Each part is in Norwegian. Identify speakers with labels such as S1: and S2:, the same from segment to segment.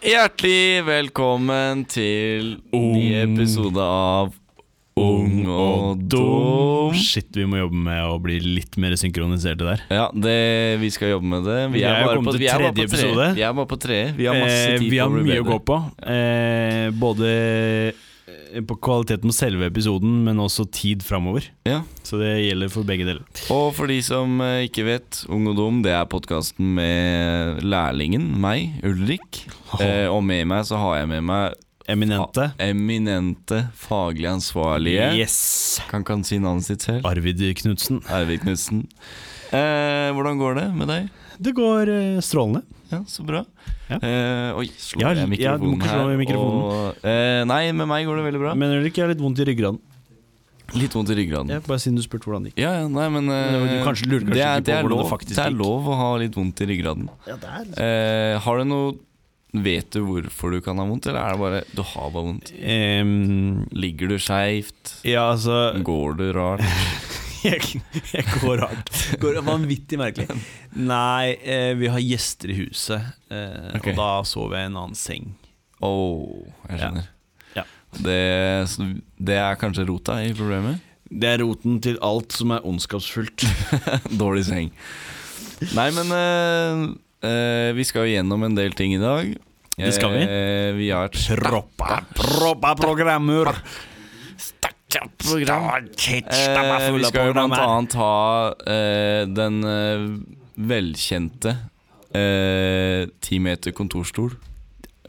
S1: Hjertelig velkommen til ny
S2: Ung.
S1: episode av Ung og dum.
S2: Shit, vi må jobbe med å bli litt mer synkroniserte der.
S1: Ja, det, vi skal jobbe med det.
S2: Vi er jo kommet til
S1: vi er bare
S2: tredje
S1: på tre.
S2: episode.
S1: Vi er bare på tre. Vi har masse
S2: Eh,
S1: tid
S2: vi har
S1: på å bli
S2: mye å
S1: bedre.
S2: gå på. Eh, både eh, på kvaliteten på selve episoden, men også tid framover.
S1: Ja.
S2: Så det gjelder for begge deler.
S1: Og for de som eh, ikke vet, Ung og dum, det er podkasten med lærlingen, meg, Ulrik. Eh, og med meg så har jeg med meg
S2: Eminente.
S1: eminente faglig ansvarlige.
S2: Yes!
S1: Kan ikke han si navnet sitt selv?
S2: Arvid Knutsen.
S1: Ervik Knutsen. Eh, hvordan går det med deg?
S2: Det går eh, strålende.
S1: Ja, så bra.
S2: Ja.
S1: Eh, oi, slår
S2: Ja,
S1: jeg
S2: ja, du må
S1: mikrofonen
S2: ikke slå
S1: her?
S2: i mikrofonen.
S1: Og, eh, nei, med meg går det veldig bra. Mm.
S2: Men Ulrik, jeg har litt vondt i ryggraden.
S1: Litt vondt i ryggraden.
S2: Ja, bare siden du spurte hvordan det gikk.
S1: Ja, ja, nei, men
S2: Men
S1: eh,
S2: det var- du kanskje lurer kanskje
S1: det er,
S2: ikke på
S1: det er
S2: hvordan det
S1: lov,
S2: faktisk
S1: det er
S2: gikk.
S1: lov å ha litt vondt i ryggraden. Eh, har du noe Vet du hvorfor du kan ha vondt, eller er det bare du har bare vondt?
S2: Ehm,
S1: Ligger du skeivt?
S2: ja, altså
S1: Går du rart?
S2: jeg, jeg går rart. Går vanvittig merkelig. Nei, eh, vi har gjester i huset, eh,
S1: Ok.
S2: og da sover jeg i en annen seng.
S1: Å, jeg
S2: Ja.
S1: skjønner.
S2: Ja.
S1: Det, det er kanskje rota i problemet?
S2: Det er roten til alt som er ondskapsfullt.
S1: Dårlig seng. Nei, men eh, eh, vi skal jo gjennom en del ting i dag.
S2: Det skal vi.
S1: Eh, vi har et
S2: Proppa, proppa programmer!
S1: Eh, vi skal jo blant annet ha eh, den eh, velkjente ti meter kontorstol.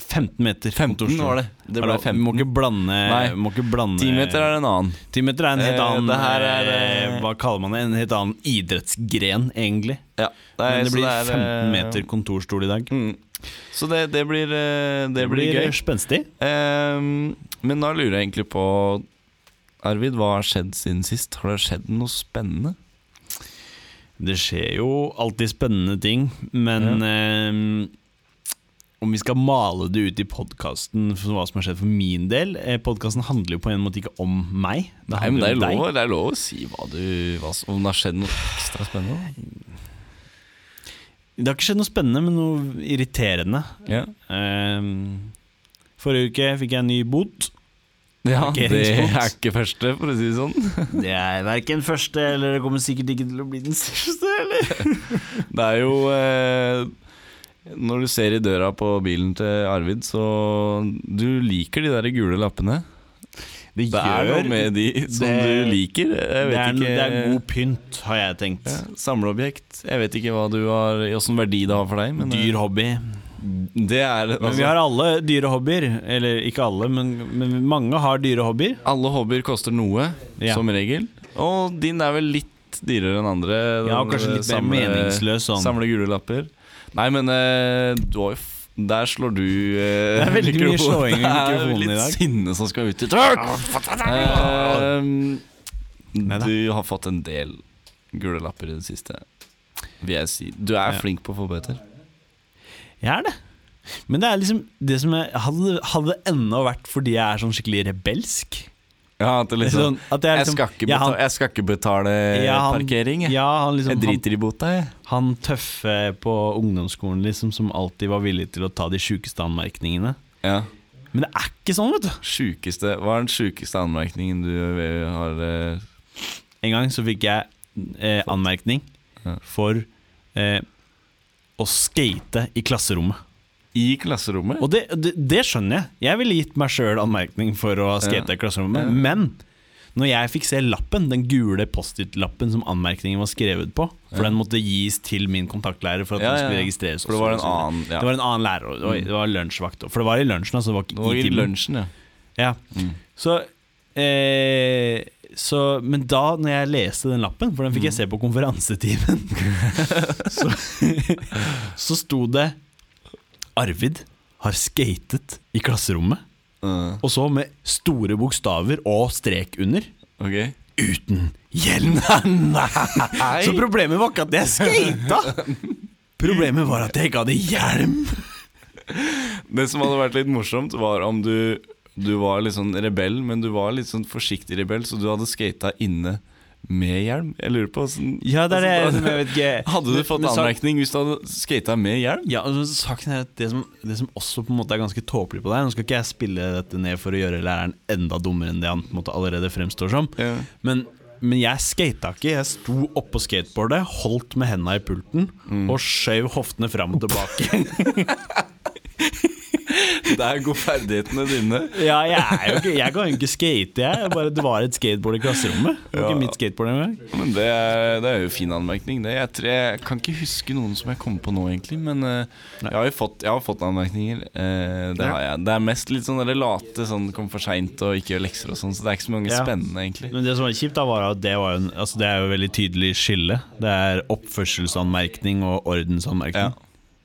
S2: 15 meter.
S1: 15 var det. Det ble
S2: Hallo, Vi må
S1: 15.
S2: ikke blande
S1: Nei.
S2: vi må ikke blande
S1: 10 meter er en annen.
S2: 10 meter er en helt
S1: Eh,
S2: annen
S1: det her er, eh,
S2: Hva kaller man det? En helt annen idrettsgren, egentlig.
S1: Ja.
S2: Men det
S1: så
S2: blir
S1: er, eh,
S2: 15 meter kontorstol i dag.
S1: Mm. Så det, det blir eh, Det blir gøy.
S2: spenstig.
S1: Ehm, men da lurer jeg egentlig på Arvid, hva har skjedd siden sist? Har det skjedd noe spennende?
S2: Det skjer jo alltid spennende ting, men eh, om vi skal male det ut i podkasten for hva som har skjedd for min del eh, Podkasten handler jo på en måte ikke om meg. Det
S1: Nei, men det
S2: handler
S1: er
S2: om deg.
S1: lov, det er lov å si hva du hva, som- Om det har skjedd noe ekstra spennende?
S2: Det har ikke skjedd noe spennende, men noe irriterende.
S1: Ja,
S2: Eh, forrige uke fikk jeg en ny bot.
S1: ja
S2: Ok,
S1: det er
S2: respons.
S1: ikke første, for å si det sånn.
S2: Det er verken første, eller det kommer sikkert ikke til å bli den siste. Eller?
S1: Det er jo eh, Når du ser i døra på bilen til Arvid, så Du liker de der gule lappene. Det er noe med de som
S2: det-
S1: du liker. Jeg
S2: det,
S1: vet
S2: er,
S1: ikke
S2: det er god pynt, har jeg tenkt.
S1: ja, Samleobjekt. Jeg vet ikke hva du har Hvilken verdi det har for deg. Men, eh,
S2: Dyr hobby.
S1: Det er
S2: Men vi
S1: altså,
S2: har alle dyre hobbyer. Eller ikke alle, men, men mange har dyre hobbyer.
S1: Alle hobbyer koster noe,
S2: Ja.
S1: som regel. Og din er vel litt dyrere enn andre.
S2: Ja,
S1: Den,
S2: og kanskje litt mer
S1: samle-
S2: meningsløs sånn.
S1: Samle gule lapper. Nei, men eh, du har jo f der slår du eh,
S2: Det er veldig mye
S1: mikrofonen.
S2: slåing i
S1: Det
S2: mikrofonen
S1: er
S2: i
S1: litt
S2: dag.
S1: sinne som skal ut i trøkk!
S2: Neida.
S1: du har fått en del gule lapper i det siste, vil jeg si. Du er
S2: Ja.
S1: flink på å få bøter.
S2: Jeg er det. Men det er liksom det som jeg hadde, hadde det ennå vært fordi jeg er sånn skikkelig rebelsk.
S1: Ja, at det liksom,
S2: sånn, at jeg,
S1: jeg,
S2: liksom
S1: skal ikke
S2: ja, han-
S1: betale, jeg skal ikke betale
S2: Ja, han-
S1: parkering, jeg.
S2: Ja, han,
S1: Jeg
S2: liksom, han,
S1: driter i bota, jeg.
S2: han tøffe på ungdomsskolen liksom, som alltid var villig til å ta de sjukeste anmerkningene.
S1: Ja.
S2: Men det er ikke sånn, vet du.
S1: Sjukeste, hva er den sjukeste anmerkningen du eh, har eh,
S2: En gang så fikk jeg eh, anmerkning
S1: Ja.
S2: for eh, å skate i klasserommet.
S1: i klasserommet?
S2: Og det, det, det skjønner jeg. Jeg ville gitt meg sjøl anmerkning for å ha skata i klasserommet.
S1: Ja.
S2: Men når jeg fikk se lappen, den gule Post-It-lappen som anmerkningen var skrevet på For
S1: Ja.
S2: den måtte gis til min kontaktlærer for at
S1: Ja,
S2: den
S1: ja,
S2: skulle
S1: ja.
S2: registreres.
S1: For det
S2: også,
S1: var en
S2: og så videre.
S1: annen ja.
S2: Det var en annen lærer, og det var, det var lunsjvakt. For det var i lunsjen, altså. Det var
S1: Det var
S2: ikke i
S1: i
S2: timen.
S1: lunsjen, ja.
S2: Ja.
S1: Mm.
S2: Så, eh, så Men da når jeg leste den lappen, for den fikk jeg se på konferansetimen, så, så sto det 'Arvid har skatet i klasserommet',
S1: Uh,
S2: og så med store bokstaver og strek under.
S1: ok.
S2: Uten hjelm! Nei. Så problemet var ikke at jeg skata! Problemet var at jeg ikke hadde hjelm!
S1: Det som hadde vært litt morsomt, var om du Du var litt sånn rebell, men du var litt sånn forsiktig rebell, så du hadde skata inne med hjelm? Jeg lurer på åssen-
S2: Ja, det er det som jeg vet ikke
S1: Hadde du fått
S2: Men- men sak-
S1: anmerkning hvis du hadde skata med hjelm?
S2: Ja, altså, saken er at det som, det som også på en måte er ganske tåpelig på deg Nå skal ikke jeg spille dette ned for å gjøre læreren enda dummere enn det han på en måte allerede fremstår som,
S1: Ja.
S2: men, men jeg skata ikke. Jeg sto oppå skateboardet, holdt med henda i pulten
S1: Mm.
S2: og skjøv hoftene fram og tilbake.
S1: Der går ferdighetene dine.
S2: ja, jeg, er jo ikke, jeg kan jo ikke skate, jeg. jeg. Bare, det var et skateboard i klasserommet. Det var
S1: Ja.
S2: ikke mitt skateboard engang.
S1: Men det er, det er jo fin anmerkning. Det. Jeg, tror, jeg kan ikke huske noen som jeg kom på nå, egentlig. Men eh, jeg har jo fått, jeg har fått anmerkninger. eh, det,
S2: Ja.
S1: har jeg. det er mest litt sånn der late, sånn kom for seint og ikke gjør lekser og sånn. Så det er ikke så mange
S2: Ja.
S1: spennende, egentlig.
S2: Men det som var kjipt, da var at det, var jo en, altså det er jo veldig tydelig skille. Det er oppførselsanmerkning og ordensanmerkning.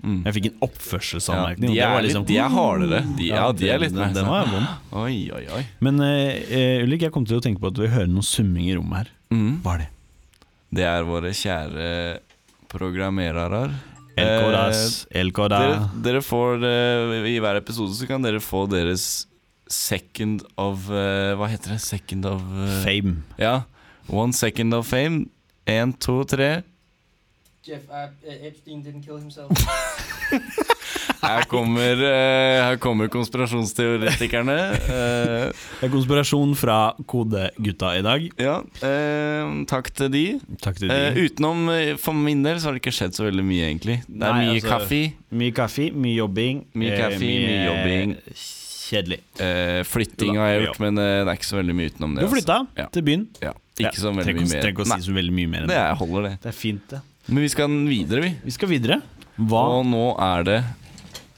S1: Mm.
S2: Jeg fikk en
S1: Ja, de,
S2: oppførselsanmerkning. og det
S1: er,
S2: var liksom,
S1: litt- de er hardere. De, ja, de er litt
S2: den,
S1: mer
S2: den
S1: sånn,
S2: var vond.
S1: Oi, oi, oi.
S2: Men eh, eh, Ulrik, jeg kom til å tenke på at vi hører noe summing i rommet her.
S1: Mm.
S2: Hva er det?
S1: Det er våre kjære programmerere.
S2: El Coras,
S1: Eh,
S2: El Cora
S1: Dere, dere får eh, I hver episode så kan dere få deres second of eh, Hva heter det? Second of eh,
S2: Fame.
S1: Ja. One second of fame. Én, to, tre.
S3: Jeff uh, Epstein didn't kill himself.
S1: Her kommer, eh, her kommer konspirasjonsteoretikerne. Eh,
S2: Det er konspirasjon fra Kodegutta i dag.
S1: ja, eh, takk til de.
S2: Takk til
S1: Eh,
S2: deg.
S1: utenom eh, for min del så har det ikke skjedd så veldig mye, egentlig. Det er
S2: Nei,
S1: mye
S2: altså-
S1: kaffe,
S2: mye kaffe, mye jobbing.
S1: Mye
S2: eh,
S1: kaffe, mye jobbing.
S2: Kjedelig.
S1: eh, flytting har jeg gjort, men eh, det er ikke så veldig mye utenom
S2: Du
S1: det.
S2: har flytta
S1: Ja.
S2: til byen.
S1: Altså. Ja, ikke så veldig
S2: Trenger
S1: mye
S2: ikke-
S1: mer.
S2: trenger ikke å
S1: Nei,
S2: si så veldig mye mer enn
S1: det er, holder, det.
S2: Det er fint, det.
S1: Men vi skal videre, vi.
S2: Vi skal videre. Hva?
S1: Og nå er det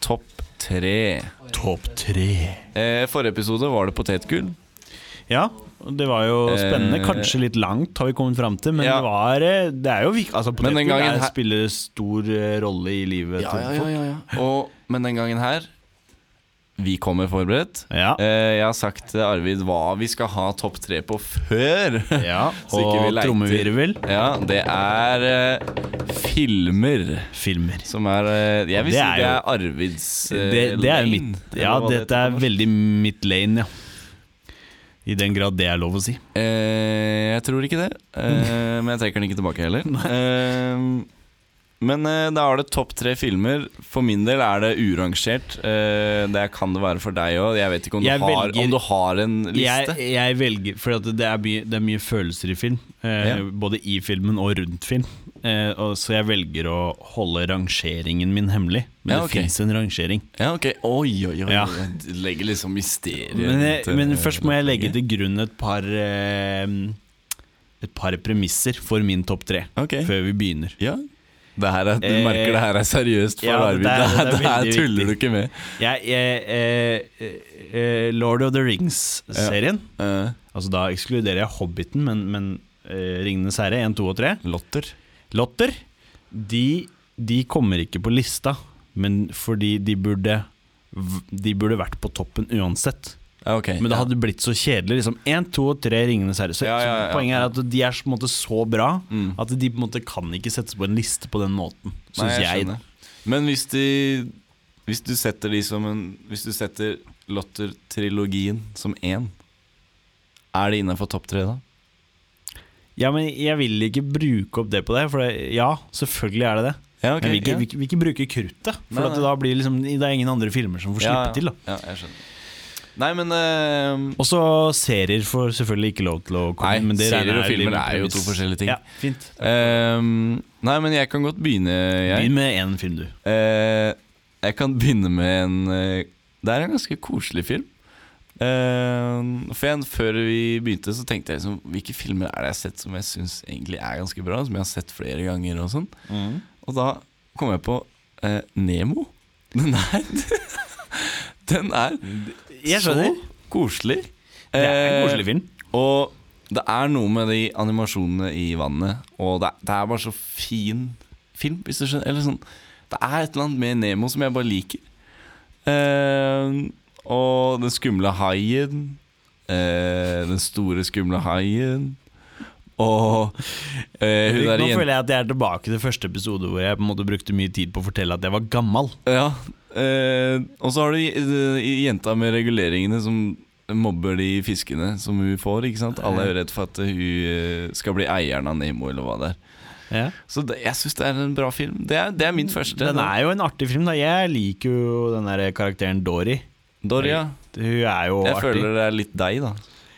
S1: topp tre.
S2: Topp tre.
S1: Eh, forrige episode var det potetgull.
S2: Ja, og det var jo spennende.
S1: Eh,
S2: Kanskje litt langt, har vi kommet fram til, men
S1: ja.
S2: det var eh, Det er jo viktig. Altså,
S1: Men den
S2: potetgull
S1: gangen
S2: er-
S1: her-
S2: spiller stor eh, rolle i livet til folk.
S1: Og, men den gangen her Vi kommer forberedt.
S2: Ja.
S1: Eh, jeg har sagt til Arvid hva vi skal ha topp tre på før.
S2: ja.
S1: Så ikke vi
S2: Og
S1: leiter.
S2: trommevirvel.
S1: ja, det er eh, filmer.
S2: Filmer.
S1: Som er eh, Jeg vil
S2: Det
S1: si
S2: er
S1: det
S2: jo-
S1: er Arvids eh,
S2: Det, det er jo
S1: lane,
S2: mitt
S1: eller
S2: Ja,
S1: hva det
S2: dette
S1: heter
S2: er
S1: på norsk.
S2: veldig mitt lane, ja. I den grad det er lov å si.
S1: Eh, jeg tror ikke det. Eh, men jeg trekker den ikke tilbake heller. Eh, men eh, da er det topp tre filmer. For min del er det urangert. Eh, det kan det være for deg òg. Jeg vet ikke om du,
S2: Jeg
S1: har,
S2: velger-
S1: om du har en
S2: Jeg,
S1: liste.
S2: jeg velger For at det, er mye, det er mye følelser i film. Eh,
S1: Ja.
S2: Både i filmen og rundt film. Eh, og, så jeg velger å holde rangeringen min hemmelig. Men
S1: Ja, ok.
S2: det fins en rangering.
S1: Ja, ok. Oi, oi, oi.
S2: Ja.
S1: Jeg legger liksom mysteriet
S2: Men,
S1: rundt, eh,
S2: jeg, men først må jeg legge
S1: opplegget.
S2: til grunn et par eh, Et par premisser for min topp tre.
S1: Ok.
S2: Før vi begynner.
S1: Ja. Det her er, du
S2: Eh,
S1: merker det her er seriøst for
S2: ja,
S1: Arvid.
S2: det
S1: Det,
S2: er-
S1: her-
S2: det er
S1: det her
S2: veldig
S1: tuller
S2: viktig.
S1: du ikke med.
S2: Jeg, jeg, eh, eh, eh, Lord of the Rings-serien.
S1: Eh,
S2: Altså Da ekskluderer jeg Hobbiten, men, men eh, Ringenes herre 1, 2 og 3.
S1: Lotter.
S2: Lotter de, de kommer ikke på lista, men fordi de burde v- De burde vært på toppen uansett.
S1: Ja, ok.
S2: Men det
S1: Ja.
S2: hadde blitt så kjedelig. Liksom 1, 2 og 3 Ringenes herre. Så,
S1: Ja, ja, ja.
S2: så poenget er at de er på en måte så bra
S1: Mm.
S2: at de på en måte kan ikke settes på en liste på den måten,
S1: Nei,
S2: syns jeg.
S1: skjønner. Men hvis, de, hvis du setter de som en Hvis du setter Lotter-trilogien som én, er det innafor topp tre da?
S2: ja, men jeg vil ikke bruke opp det på deg, for det, ja, selvfølgelig er det det.
S1: Ja,
S2: men vi vil ikke, vil ikke- vil ikke bruke kruttet, for
S1: Nei,
S2: at det
S1: nei.
S2: da blir liksom, det er ingen andre filmer som får slippe til. da
S1: Ja, jeg skjønner. Nei, men eh,
S2: Også serier får selvfølgelig ikke lov til å komme
S1: Nei,
S2: men det
S1: serier
S2: regner
S1: og
S2: jeg
S1: filmer
S2: med
S1: er jo to
S2: premiss.
S1: forskjellige ting.
S2: Ja, fint
S1: eh, Nei, men jeg kan godt begynne, jeg.
S2: Begynn med én film, du.
S1: Eh, jeg kan begynne med en eh, Det er en ganske koselig film. Eh, for jeg, før vi begynte, så tenkte jeg liksom Hvilke filmer er det jeg har sett som jeg syns egentlig er ganske bra? Som jeg har sett flere ganger og sånn. Og da kom jeg på eh, Nemo. Den er Den er
S2: Jeg skjønner.
S1: så koselig. Eh,
S2: Det er en koselig film.
S1: Og det er noe med de animasjonene i vannet, og det er, det er bare så fin film, hvis du skjønner. Eller sånn, det er et eller annet med Nemo som jeg bare liker. Eh, og den skumle haien. eh, den store, skumle haien. Og eh, hun der
S2: Nå
S1: jenta
S2: føler jeg at jeg er tilbake til første episode hvor jeg på en måte brukte mye tid på å fortelle at jeg var gammel.
S1: Ja. Eh, og så har du eh, jenta med reguleringene som mobber de fiskene som hun får. ikke sant? Alle er jo redd for at hun eh, skal bli eieren av Nemo, eller hva det er.
S2: Ja.
S1: Så det, jeg syns det er en bra film. Det er, det er min første.
S2: Den er jo en artig film. da Jeg liker jo den der karakteren Dory.
S1: Doria.
S2: Hun er jo
S1: Jeg
S2: artig.
S1: føler det er litt deg, da.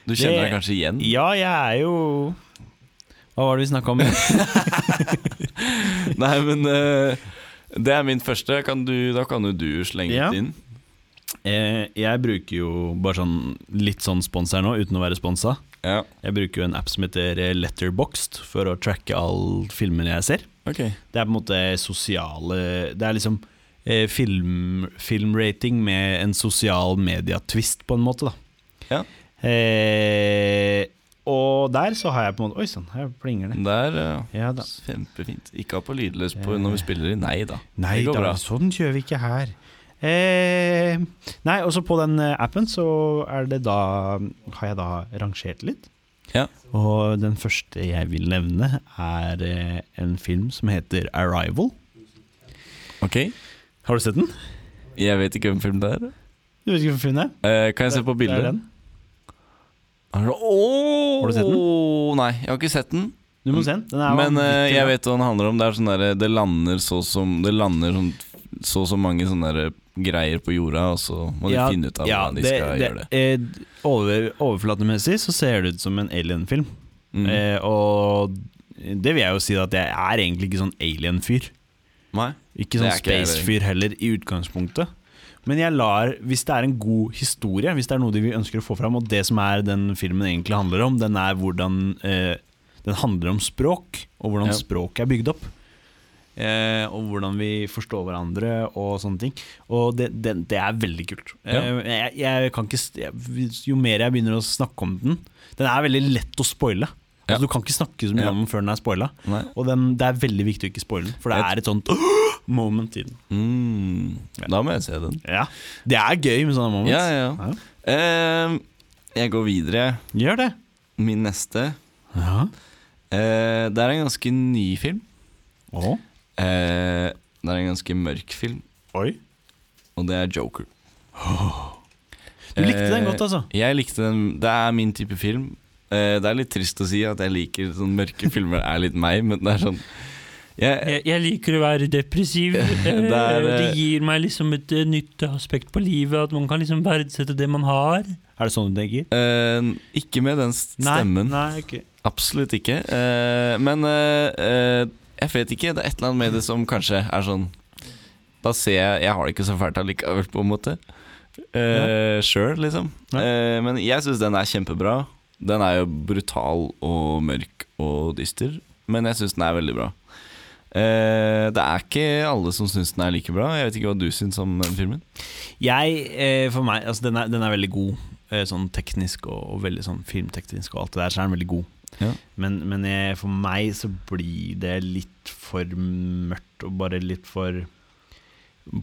S1: Du kjenner deg kanskje igjen?
S2: Ja, jeg er jo Hva var det vi snakka om?
S1: Nei, men eh, det er min første. Kan du, da kan jo du slenge
S2: Ja.
S1: litt inn.
S2: Eh, jeg bruker jo bare sånn litt sånn spons her nå, uten å være sponsa.
S1: Ja,
S2: Jeg bruker jo en app som heter Letterboxed for å tracke alle filmene jeg ser.
S1: ok
S2: Det er på en måte sosiale Det er liksom eh, film, filmrating med en sosial mediatvist, på en måte, da.
S1: Ja.
S2: Eh, og der så har jeg på en måte Oi sann, her plinger det.
S1: Der, ja.
S2: Ja da.
S1: Kjempefint. Ikke ha på lydløs på når vi spiller i Nei, da.
S2: Nei
S1: det går
S2: da,
S1: bra.
S2: sånn gjør vi ikke her. Eh, nei, også på den eh, appen så er det da Har jeg da rangert litt.
S1: Ja.
S2: Og den første jeg vil nevne, er eh, en film som heter 'Arrival'.
S1: Ok.
S2: Har du sett den?
S1: Jeg vet ikke hvem film det er.
S2: Du vet ikke hvilken film det er?
S1: Eh, kan jeg se på
S2: Det er
S1: bildet?
S2: den.
S1: Har du, Åh!
S2: Har du sett den?
S1: Nei, jeg har ikke sett den.
S2: Du må se den. den er
S1: Men eh, jeg
S2: vanvittig bra.
S1: vet hva den handler om. Det er sånn der, det lander så som Det lander sånn, så så mange sånne der eh, greier på jorda, og så må de
S2: Ja,
S1: finne ut av
S2: ja,
S1: hvordan de
S2: det-
S1: skal
S2: det-
S1: gjøre det.
S2: eh, over, overflatemessig så ser det ut som en alien-film.
S1: Mm.
S2: Eh, og det vil jeg jo si at jeg er egentlig ikke sånn alien-fyr.
S1: Nei?
S2: Ikke
S1: Det
S2: sånn
S1: er ikke jeg
S2: space-fyr heller, i utgangspunktet. Men jeg lar, hvis det er en god historie, hvis det er noe de vi ønsker å få fram, og det som er den filmen egentlig handler om, den er hvordan eh, Den handler om språk, og hvordan
S1: Ja.
S2: språk er bygd opp. Eh, og hvordan vi forstår hverandre og sånne ting. Og det, det, det er veldig kult.
S1: Ja.
S2: Eh, jeg, jeg kan ikke, st- jeg, jo mer jeg begynner å snakke om den Den er veldig lett å spoile.
S1: Ja.
S2: Altså, du kan ikke snakke så mye
S1: Ja.
S2: om den før den er spoila.
S1: Nei.
S2: Og den, det er veldig viktig å ikke spoile den, for det
S1: Jeg-
S2: er et sånt moment i den.
S1: Mm. Da må jeg se den.
S2: Ja. Det er gøy med sånne moments.
S1: Ja, ja. ja. Eh, jeg går videre.
S2: Gjør det.
S1: Min neste.
S2: Ja.
S1: Eh, det er en ganske ny film.
S2: Å.
S1: Eh, det er en ganske mørk film,
S2: Oi.
S1: og det er Joker.
S2: Du likte den godt, altså.
S1: Jeg likte den. Det er min type film. Eh, det er litt trist å si at jeg liker sånn mørke filmer er litt meg, men det er sånn jeg,
S4: Jeg, jeg liker å være depressiv.
S1: Det
S4: Det,
S1: er,
S4: det
S1: eh,
S4: gir meg liksom et eh, nytt aspekt på livet. At man kan liksom verdsette det man har.
S2: Er det sånn du tenker?
S1: eh, Ikke med den s- stemmen.
S2: Nei, nei ok.
S1: Absolutt ikke. Eh, men eh, eh, jeg vet ikke. Det er et eller annet med det som kanskje er sånn Da ser jeg Jeg har det ikke så fælt allikevel, på en måte. Uh, Sjøl, liksom.
S2: Ja.
S1: Eh, men jeg syns den er kjempebra. Den er jo brutal og mørk og dyster, men jeg syns den er veldig bra. Eh, det er ikke alle som syns den er like bra. Jeg vet ikke hva du syns om den filmen.
S2: Jeg, eh, for meg, altså den er, den er veldig god. eh, Sånn teknisk og, og veldig sånn filmteknisk og alt det der, så er den veldig god.
S1: Ja.
S2: Men, men jeg, for meg så blir det litt for mørkt og bare litt for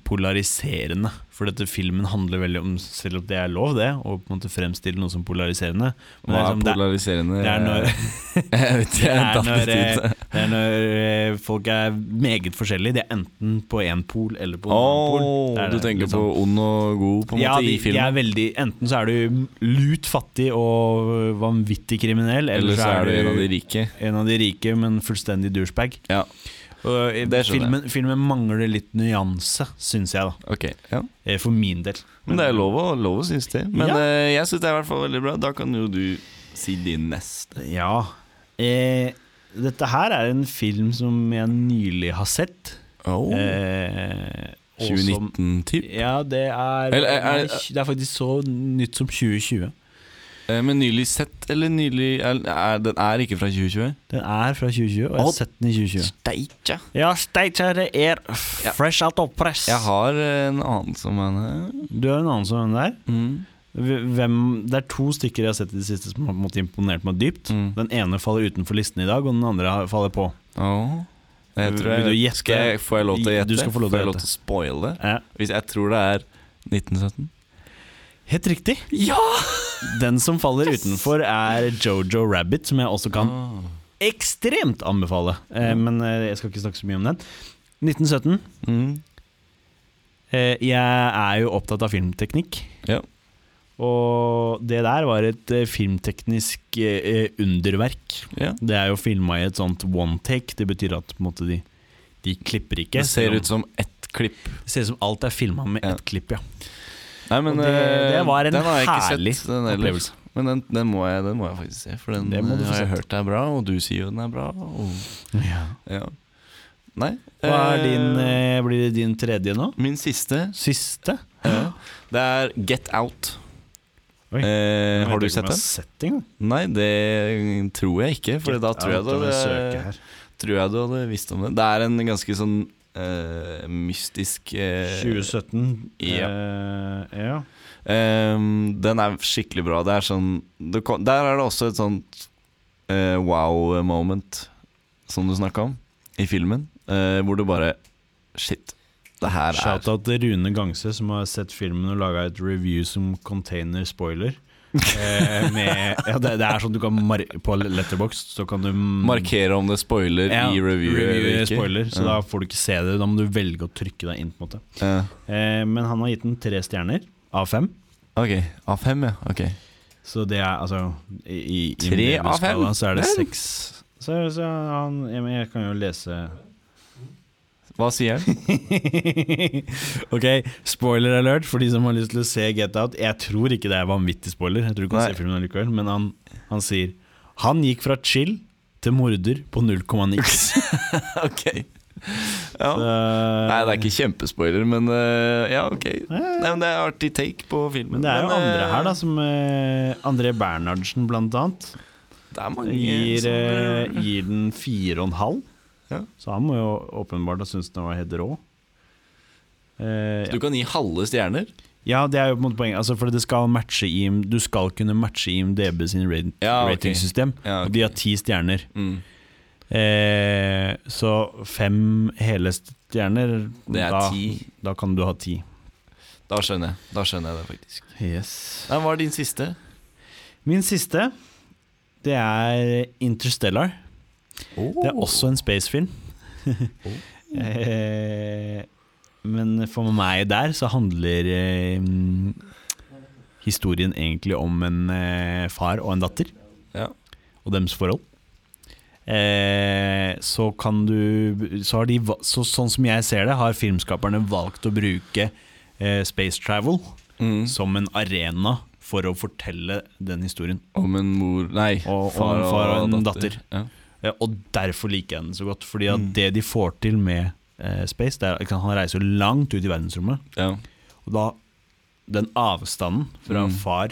S2: polariserende. For dette filmen handler veldig om, selv om det er lov det, å på en måte fremstille noe som polariserende,
S1: Hva
S2: Men
S1: er
S2: liksom, det er-
S1: polariserende?
S2: det er når-
S1: Eh. Jeg vet ikke, jeg
S2: Det er
S1: datt litt
S2: når,
S1: ut.
S2: det er når eh, folk er meget forskjellige. De er enten på én pol eller på en annen pol.
S1: Åh,
S2: Det er
S1: du
S2: det,
S1: tenker
S2: liksom.
S1: på ond og god på en
S2: ja,
S1: måte
S2: de,
S1: i
S2: de
S1: filmen?
S2: er veldig Enten så er du lut fattig og vanvittig kriminell,
S1: Eller så er du en av de rike.
S2: en av de rike, men fullstendig douchebag.
S1: Ja.
S2: Og, eh,
S1: Det skjønner
S2: filmen, filmen mangler litt nyanse, syns jeg, da.
S1: Ok, ja.
S2: Eh, For min del.
S1: Men det er lov å, lov å synes det. Men
S2: Ja.
S1: eh, jeg synes det er i hvert fall veldig bra. Da kan jo du si din neste.
S2: Ja. Eh, dette her er en film som jeg nylig har sett.
S1: Oh.
S2: Eh, og som-
S1: 2019-typ.
S2: Ja, det er,
S1: Eller, er- er-
S2: nei, Det er faktisk så nytt som 2020.
S1: Eh, Men nylig sett, eller nylig er, er, Den er ikke fra 2020?
S2: Den er fra 2020, og jeg
S1: Å,
S2: har sett den i 2020.
S1: Steitja.
S2: Ja, steikja, det er
S1: Ja.
S2: fresh out of press.
S1: Jeg har eh, en annen som er
S2: Du har en annen som den der.
S1: mm.
S2: Hvem, det er to stykker jeg har sett i det siste som har på en måte imponert meg dypt.
S1: Mm.
S2: Den ene faller utenfor listen i dag, og den andre har- faller på.
S1: Åh. Jeg tror jeg,
S2: Vil du gjette?
S1: Skal jeg, får jeg lov til å gjette?
S2: Du skal få lov til
S1: får jeg
S2: å
S1: lov til å spoile?
S2: Ja.
S1: Hvis jeg tror det er 1917?
S2: Helt riktig.
S1: Ja!
S2: Den som faller utenfor, er Jojo Rabbit, som jeg også kan
S1: Mm.
S2: ekstremt anbefale. Eh, men eh, jeg skal ikke snakke så mye om den. 1917.
S1: Mm.
S2: Eh, Jeg er jo opptatt av filmteknikk.
S1: Ja.
S2: Og det der var et eh, filmteknisk eh, eh, underverk.
S1: Ja.
S2: Det er jo filma i et sånt one take. Det betyr at på en måte, de, de klipper ikke.
S1: Det ser
S2: selv om-
S1: ut som ett klipp.
S2: det ser ut som alt er filma med
S1: Ja.
S2: ett klipp, ja.
S1: Nei, men
S2: Og det-
S1: eh,
S2: det var en
S1: den har jeg ikke
S2: herlig
S1: sett, den ellers.
S2: opplevelse.
S1: Men den, den, må jeg, den må jeg faktisk se, for den
S2: Det må du
S1: eh,
S2: få
S1: har jeg
S2: sett.
S1: hørt er bra, og du sier jo den er bra. Og, ja. Nei.
S2: Hva er
S1: eh,
S2: din, eh, blir det din tredje nå?
S1: Min siste
S2: Siste?
S1: Ja. Det er Get Out.
S2: Oi.
S1: Eh, har du sett den?
S2: den?
S1: Nei, det tror jeg ikke. For da tror jeg, eh, du hadde, tror jeg du hadde visst om det. Det er en ganske sånn eh, mystisk eh,
S2: 2017.
S1: ja.
S2: Eh, ja.
S1: eh, Den er skikkelig bra. Det er sånn det kom, Der er det også et sånt eh, wow moment som du snakka om i filmen, eh, hvor du bare Shit, det her er
S2: Shout-out til Rune Gangse, som har sett filmen og laga et review som container spoiler. Eh, med, ja, det, det er sånn du kan mar På Letterbox så kan du
S1: Markere om det spoiler
S2: ja,
S1: i reviewet. eller
S2: review
S1: ikke.
S2: spoiler, så
S1: Ja.
S2: da får du ikke se det. Da må du velge å trykke deg inn. på en måte
S1: Ja.
S2: eh, Men han har gitt den tre stjerner av fem.
S1: Ok, av fem, ja. Ok
S2: Så det er altså i, i i
S1: Tre av fem?
S2: IMDb-skala Så er det
S1: Vel.
S2: seks. Så, så han jeg, men jeg kan jo lese
S1: Hva sier han?
S2: Ok, spoiler alert for de som har lyst til å se Get Out. Jeg tror ikke det er vanvittig spoiler, Jeg tror du kan
S1: Nei.
S2: se filmen allikevel men han, han sier Han gikk fra chill til morder på 0,9.
S1: ok. Ja. Nei,
S2: Nei,
S1: det er ikke kjempespoiler, men eh, ja, ok. Nei, men det er artig take på filmen.
S2: Men det er jo andre
S1: eh,
S2: her, da, som eh, André Bernhardsen, blant annet.
S1: Det er mange
S2: Gir,
S1: som,
S2: eh,
S1: eh,
S2: gir den fire og en halv.
S1: Ja.
S2: Så han må jo åpenbart ha syntes den var helt rå. Eh,
S1: Du kan gi halve stjerner.
S2: ja, det er jo på en måte poenget. Altså, for det skal matche IM, du skal kunne matche IMDb sin rate,
S1: Ja, Ah, ok.
S2: ratingsystem.
S1: Ja, ok.
S2: Og de har ti stjerner.
S1: Mm.
S2: Eh, så fem hele stjerner
S1: Det er
S2: da,
S1: ti.
S2: da kan du ha ti.
S1: Da skjønner jeg Da skjønner jeg det, faktisk.
S2: Yes.
S1: Nei, Hva er din siste?
S2: Min siste, det er Interstellar. Det er også en spacefilm.
S1: Oh.
S2: eh, men for meg der så handler eh, mm, historien egentlig om en eh, far og en datter.
S1: Ja.
S2: Og deres forhold. Eh, så kan du så har de, va- så, Sånn som jeg ser det, har filmskaperne valgt å bruke eh, space travel
S1: Mm.
S2: som en arena for å fortelle den historien.
S1: Om en mor Nei,
S2: Og- om en far og en datter.
S1: Ja.
S2: Eh, Og derfor liker jeg den så godt. Fordi at
S1: Mm.
S2: det de får til med eh, Space det er, ikke sant, Han reiser jo langt ut i verdensrommet.
S1: ja.
S2: Og da den avstanden fra
S1: Mm.
S2: far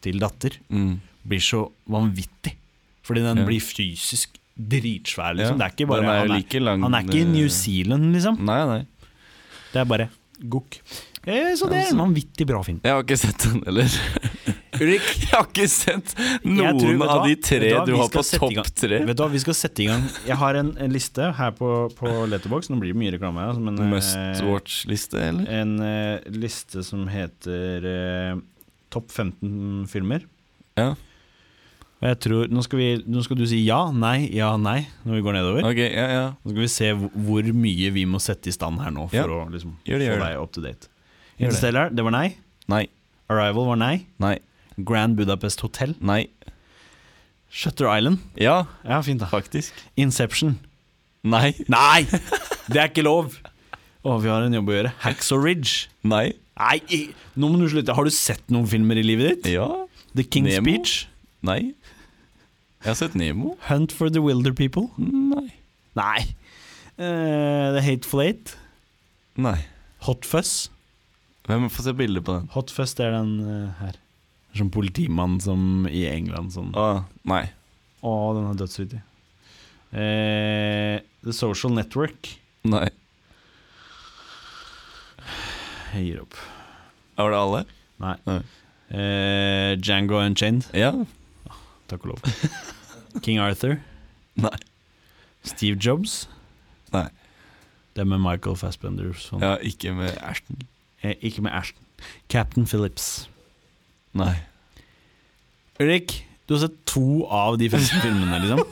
S2: til datter
S1: Mm.
S2: blir så vanvittig. Fordi den
S1: Ja.
S2: blir fysisk dritsvær,
S1: Ja,
S2: liksom. Det er ikke bare,
S1: den er jo
S2: han, er,
S1: like lang,
S2: han er ikke i
S1: eh,
S2: New Zealand, liksom.
S1: Nei, nei.
S2: Det er bare gokk. Eh, så det er en vanvittig bra film.
S1: Jeg har ikke sett den heller. Ulrik, jeg har ikke sett
S2: Jeg
S1: noen
S2: tror- vet du
S1: av
S2: hva?
S1: de
S2: Vet
S1: tre
S2: hva?
S1: du
S2: Vi
S1: har
S2: skal
S1: på
S2: sette i gang-
S1: topp tre.
S2: Vet du hva, Vi skal sette i gang. Jeg har en, en liste her på, på Letterbox. Nå blir det mye reklame. her, altså, men, eh,
S1: Must watch-liste, eller?
S2: en eh, liste som heter eh, Topp 15 filmer.
S1: Ja.
S2: Og jeg tror, nå, skal vi, nå skal du si ja, nei, ja, nei når vi går nedover.
S1: Ok, ja, ja.
S2: Nå skal vi se hvor- hvor mye vi må sette i stand her nå for
S1: Ja.
S2: å liksom,
S1: Gjør det, gjør
S2: få
S1: det.
S2: deg up to date.
S1: Gjør det.
S2: Interstellar, det var nei.
S1: Nei,
S2: Arrival var nei.
S1: nei,
S2: Grand Budapest Hotel.
S1: nei.
S2: Shutter Island.
S1: Ja,
S2: Ja, fint da.
S1: faktisk.
S2: Inception.
S1: Nei,
S2: Nei! Det er ikke lov! Å, vi har en jobb å gjøre. Hacksaw Ridge.
S1: nei.
S2: Nei, i- nå må du slutte. Har du sett noen filmer i livet ditt?
S1: Ja,
S2: The King's
S1: Nemo?
S2: Speech.
S1: nei. Jeg har sett Nemo.
S2: Hunt for the Wilder People?
S1: Nei.
S2: Nei. Eh, the Hateful Eight?
S1: Nei.
S2: Hot Fuzz?
S1: Hvem får se bilde på den?
S2: Hot Fuzz det er den eh, her. Det er Sånn politimann som i England sånn. Å,
S1: Å, nei.
S2: den er dødsvittig. Eh, the Social Network.
S1: Nei.
S2: Jeg gir opp.
S1: Var det alle?
S2: Nei.
S1: Nei.
S2: Eh, Django Unchained.
S1: Ja.
S2: Takk og lov. King Arthur.
S1: Nei.
S2: Steve Jobs.
S1: Nei.
S2: Det er med Michael Fassbender. Sånn.
S1: Ja, ikke med Ashton.
S2: Eh, ikke med Ashton. Captain Phillips.
S1: Nei.
S2: Ulrik, du har sett to av de første filmene, liksom.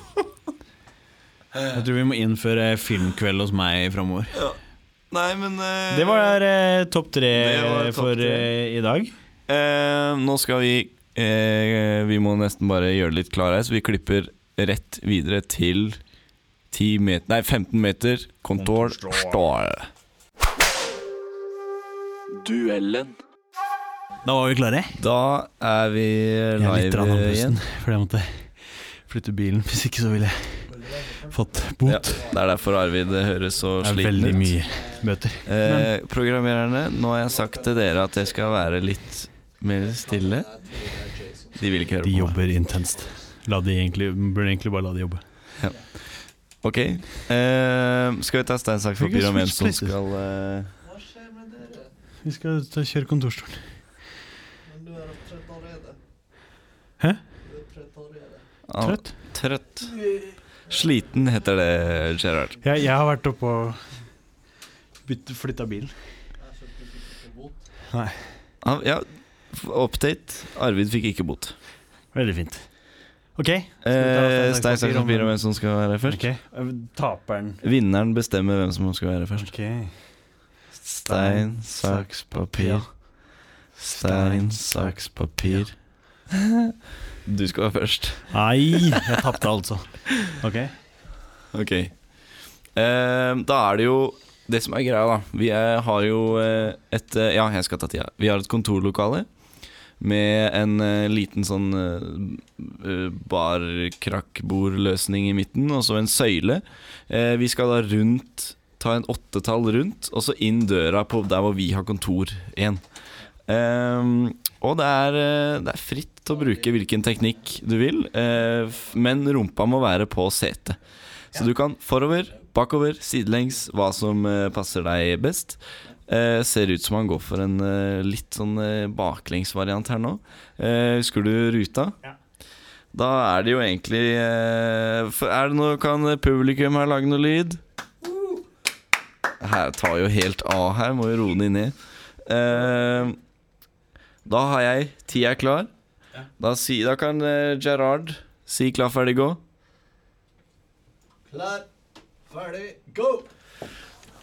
S2: Jeg tror vi må innføre filmkveld hos meg framover.
S1: Nei, men eh,
S2: Det var eh, topp tre
S1: Det var topp
S2: for
S1: tre.
S2: eh, i dag.
S1: eh, nå skal vi eh, Vi må nesten bare gjøre det litt klar her, så vi klipper rett videre til 10 meter, nei, 15 meter kontor. Står.
S5: Duellen.
S2: Da var vi klare.
S1: Da er vi
S2: Jeg er litt
S1: live eh,
S2: rann
S1: igjen.
S2: andpusten, fordi jeg måtte flytte bilen. Hvis ikke så ville jeg fått bot.
S1: Ja, det er derfor Arvid høres så
S2: det er
S1: sliten
S2: veldig
S1: ut.
S2: mye bøter.
S1: Eh, programmererne, nå har jeg sagt til dere at jeg skal være litt mer stille. De vil ikke høre på
S2: De
S1: meg.
S2: jobber intenst. La de egentlig, burde egentlig bare la de jobbe.
S1: Ok. eh, skal vi ta stein, saks, papir om hvem som skal eh,
S3: Hva skjer med dere?
S2: Vi skal kjøre kontorstolen.
S3: Men du er trøtt allerede.
S2: Hæ?
S3: Du er trøtt allerede.
S1: ah,
S2: Trøtt?
S1: Trøtt. Sliten heter det, Gerhard.
S2: Jeg, jeg har vært oppe og bytt- flytta bilen.
S3: Jeg skjønte du fikk ikke bot.
S1: Ah, ja, f- update. Arvid fikk ikke bot.
S2: Veldig fint. OK.
S1: Eh,
S2: Skal vi
S1: stein,
S2: ta stein, saks,
S1: saks, papir om hvem som skal være først.
S2: ok. Taperen.
S1: Vinneren bestemmer hvem som skal være først.
S2: Ok.
S1: Stein, saks, papir. Stein, saks, papir. Du skal være først.
S2: Nei, jeg tapte altså. OK.
S1: Ok. Eh, da er det jo Det som er greia, da Vi er, har jo eh, et eh, Ja, jeg skal ta tida. Vi har et kontorlokale med en eh, liten sånn uh, barkrakkbordløsning i midten, og så en søyle. Eh, vi skal da rundt Ta en åttetall rundt, og så inn døra på der hvor vi har kontor igjen. Eh, og det er, eh, det er fritt å bruke hvilken teknikk du vil, eh, f- men rumpa må være på setet. Så du kan forover, bakover, sidelengs, hva som eh, passer deg best. Eh, ser ut som han går for en eh, litt sånn eh, baklengsvariant her nå. Eh, husker du ruta?
S2: Ja.
S1: Da er det jo egentlig eh, for Er det noe Kan publikum her lage noe lyd? Her tar jo helt av her, må jo roe ned ned. Eh, da har jeg tida klar. Da, si, da kan eh, Gerard si klar, ferdig, gå.
S3: Klar, ferdig, go!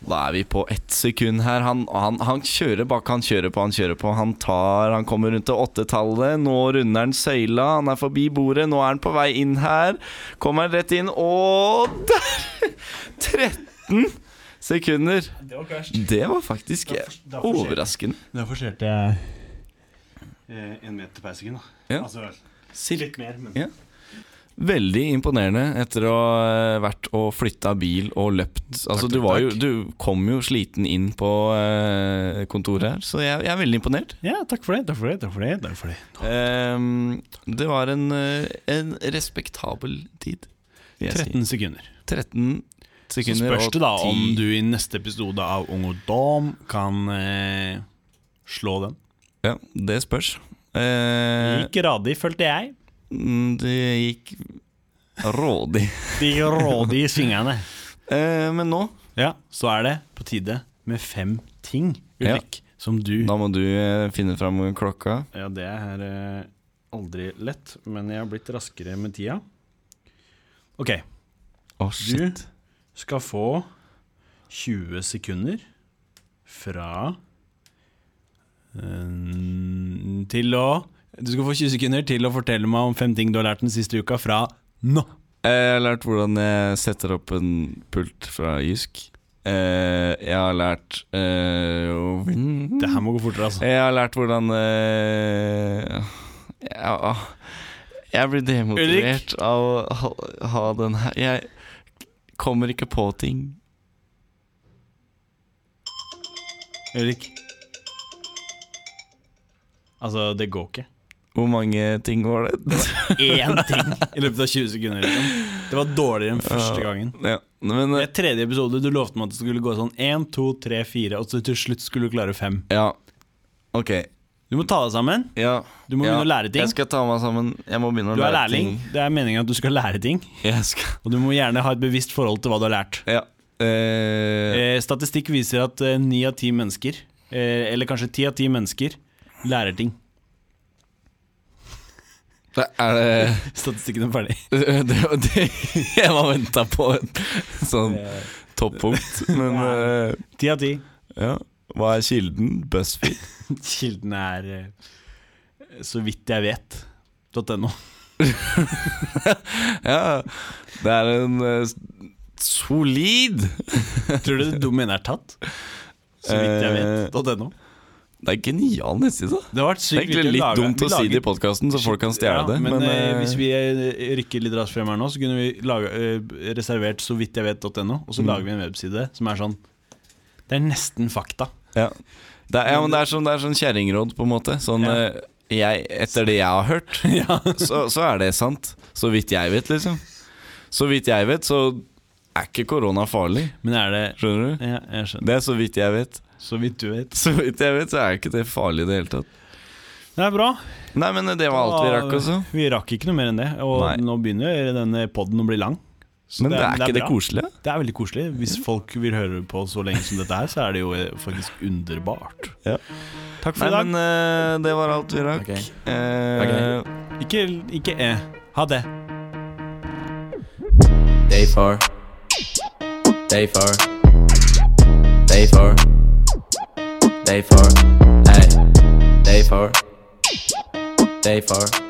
S1: Da er vi på ett sekund her. Han, han, han kjører bak, han kjører på, han kjører på. Han tar, han kommer rundt til åttetallet. Nå runder han søyla, han er forbi bordet. Nå er han på vei inn her. Kommer han rett inn, og der! 13 sekunder.
S2: Det var kverst.
S1: Det var faktisk
S2: Da for- da forserte-
S1: overraskende.
S2: Da forserte jeg eh, en meter per sekund, da.
S1: Ja.
S2: Altså,
S1: Cirka
S2: litt mer, men
S1: Ja. Veldig imponerende etter å ha vært og flytta bil og løpt. Altså,
S2: Takk,
S1: du, var jo,
S2: takk.
S1: du kom jo sliten inn på eh, kontoret her, så jeg, jeg er veldig imponert.
S2: Ja, takk for det, takk for det, takk for det. Takk for det.
S1: Ehm, det var en, eh, en respektabel tid. vil jeg si.
S2: 13 sekunder.
S1: 13
S2: Så
S1: sekunder
S2: spørs det da
S1: og
S2: om
S1: 10
S2: du i neste episode av Ung og Dam kan eh, slå den.
S1: Ja, det spørs. Eh,
S2: Gikk radig, følte jeg.
S1: mm, det gikk rådig.
S2: De rådig i svingene.
S1: Eh, men nå
S2: Ja, så er det på tide med fem ting,
S1: Ja.
S2: Ulrik, som du
S1: Da må du eh, finne fram klokka.
S2: Ja, det er eh, aldri lett, men jeg har blitt raskere med tida. Ok,
S1: Å,
S2: du
S1: shit.
S2: skal få 20 sekunder fra eh, Til å Du skal få 20 sekunder til å fortelle meg om fem ting du har lært den siste uka fra nå.
S1: Eh, Jeg har lært hvordan jeg setter opp en pult fra Jysk. Eh, jeg har lært eh, å-
S2: Det her må gå fortere, altså.
S1: Jeg har lært hvordan eh, ja, ah, Jeg blir demotivert av å ha, ha den her Jeg kommer ikke på ting.
S2: Ulrik. Altså, det går ikke.
S1: Hvor mange ting var det?
S2: Én ting i løpet av 20 sekunder. Liksom. Det var dårligere enn første gangen.
S1: Ja, men
S2: Det er tredje episode. Du lovte meg at det skulle gå sånn én, to, tre, fire, og så til slutt skulle du klare fem.
S1: eh, Ja, ok.
S2: Du må ta deg sammen.
S1: Ja,
S2: Du må
S1: ja.
S2: begynne å lære ting.
S1: Jeg skal ta meg sammen. Jeg må begynne å
S2: Du er
S1: lære
S2: lærling. Det er meningen at du skal lære ting,
S1: ting. Jeg skal
S2: og du må gjerne ha et bevisst forhold til hva du har lært.
S1: Ja. Eh,
S2: Eh, statistikk viser at eh, ni av ti mennesker, eh, eller kanskje ti av ti mennesker, lærer ting.
S1: er det
S2: Statistikken er ferdig.
S1: det, det, det Jeg var venta på et sånn
S2: Eh.
S1: toppunkt, men eh,
S2: Ti av ti.
S1: ja. Hva er kilden? BuzzFeed?
S2: Kilden er eh, så vidt jeg vet. .no.
S1: Ja, det er en eh, s- solid
S2: Tror du det domenet er tatt? Så vidt jeg
S1: Eh,
S2: vet. .no.
S1: Det er en genial nettside. da.
S2: Det har
S1: Det
S2: vært
S1: er
S2: sykt
S1: egentlig
S2: viktig
S1: litt
S2: lage-
S1: dumt å
S2: vi
S1: si det i
S2: lager-
S1: podkasten, så folk kan stjele
S2: Ja,
S1: det.
S2: Men, eh,
S1: eh,
S2: hvis vi eh, rykker litt raskt frem her nå, så kunne vi lage, eh, reservert så vidt jeg vet.no, og så
S1: Mm.
S2: lager vi en webside som er sånn Det er nesten fakta.
S1: ja. Det, er, ja, men det er sånn, det er sånn kjerringråd, på en måte. Sånn,
S2: Ja.
S1: eh, jeg, etter det jeg har hørt,
S2: ja.
S1: så, så er det sant. Så vidt jeg vet, liksom. Så vidt jeg vet, så er ikke korona farlig.
S2: Men er det
S1: Skjønner du?
S2: ja, Jeg skjønner.
S1: Det er så vidt jeg vet.
S2: Så vidt du vet.
S1: Så vidt jeg vet, så er ikke det farlig i det hele tatt.
S2: Det er bra.
S1: Nei, men eh, det var alt vi
S2: Da-
S1: rakk, altså. også.
S2: Vi rakk ikke noe mer enn det. Og
S1: Nei.
S2: nå begynner denne poden å bli lang. Så
S1: Men det er ikke det
S2: bra.
S1: koselige?
S2: Det er veldig koselig. Hvis folk vil høre på så lenge som dette her, så er det jo eh, faktisk underbart.
S1: Ja.
S2: Takk
S1: Nei,
S2: for i dag.
S1: men eh, det var alt vi rakk.
S2: Ok.
S1: Eh,
S2: Ikke, ikke eh. Ha det.
S5: Day four. Day four. Day four. Day four. Hey. Day four. Day four.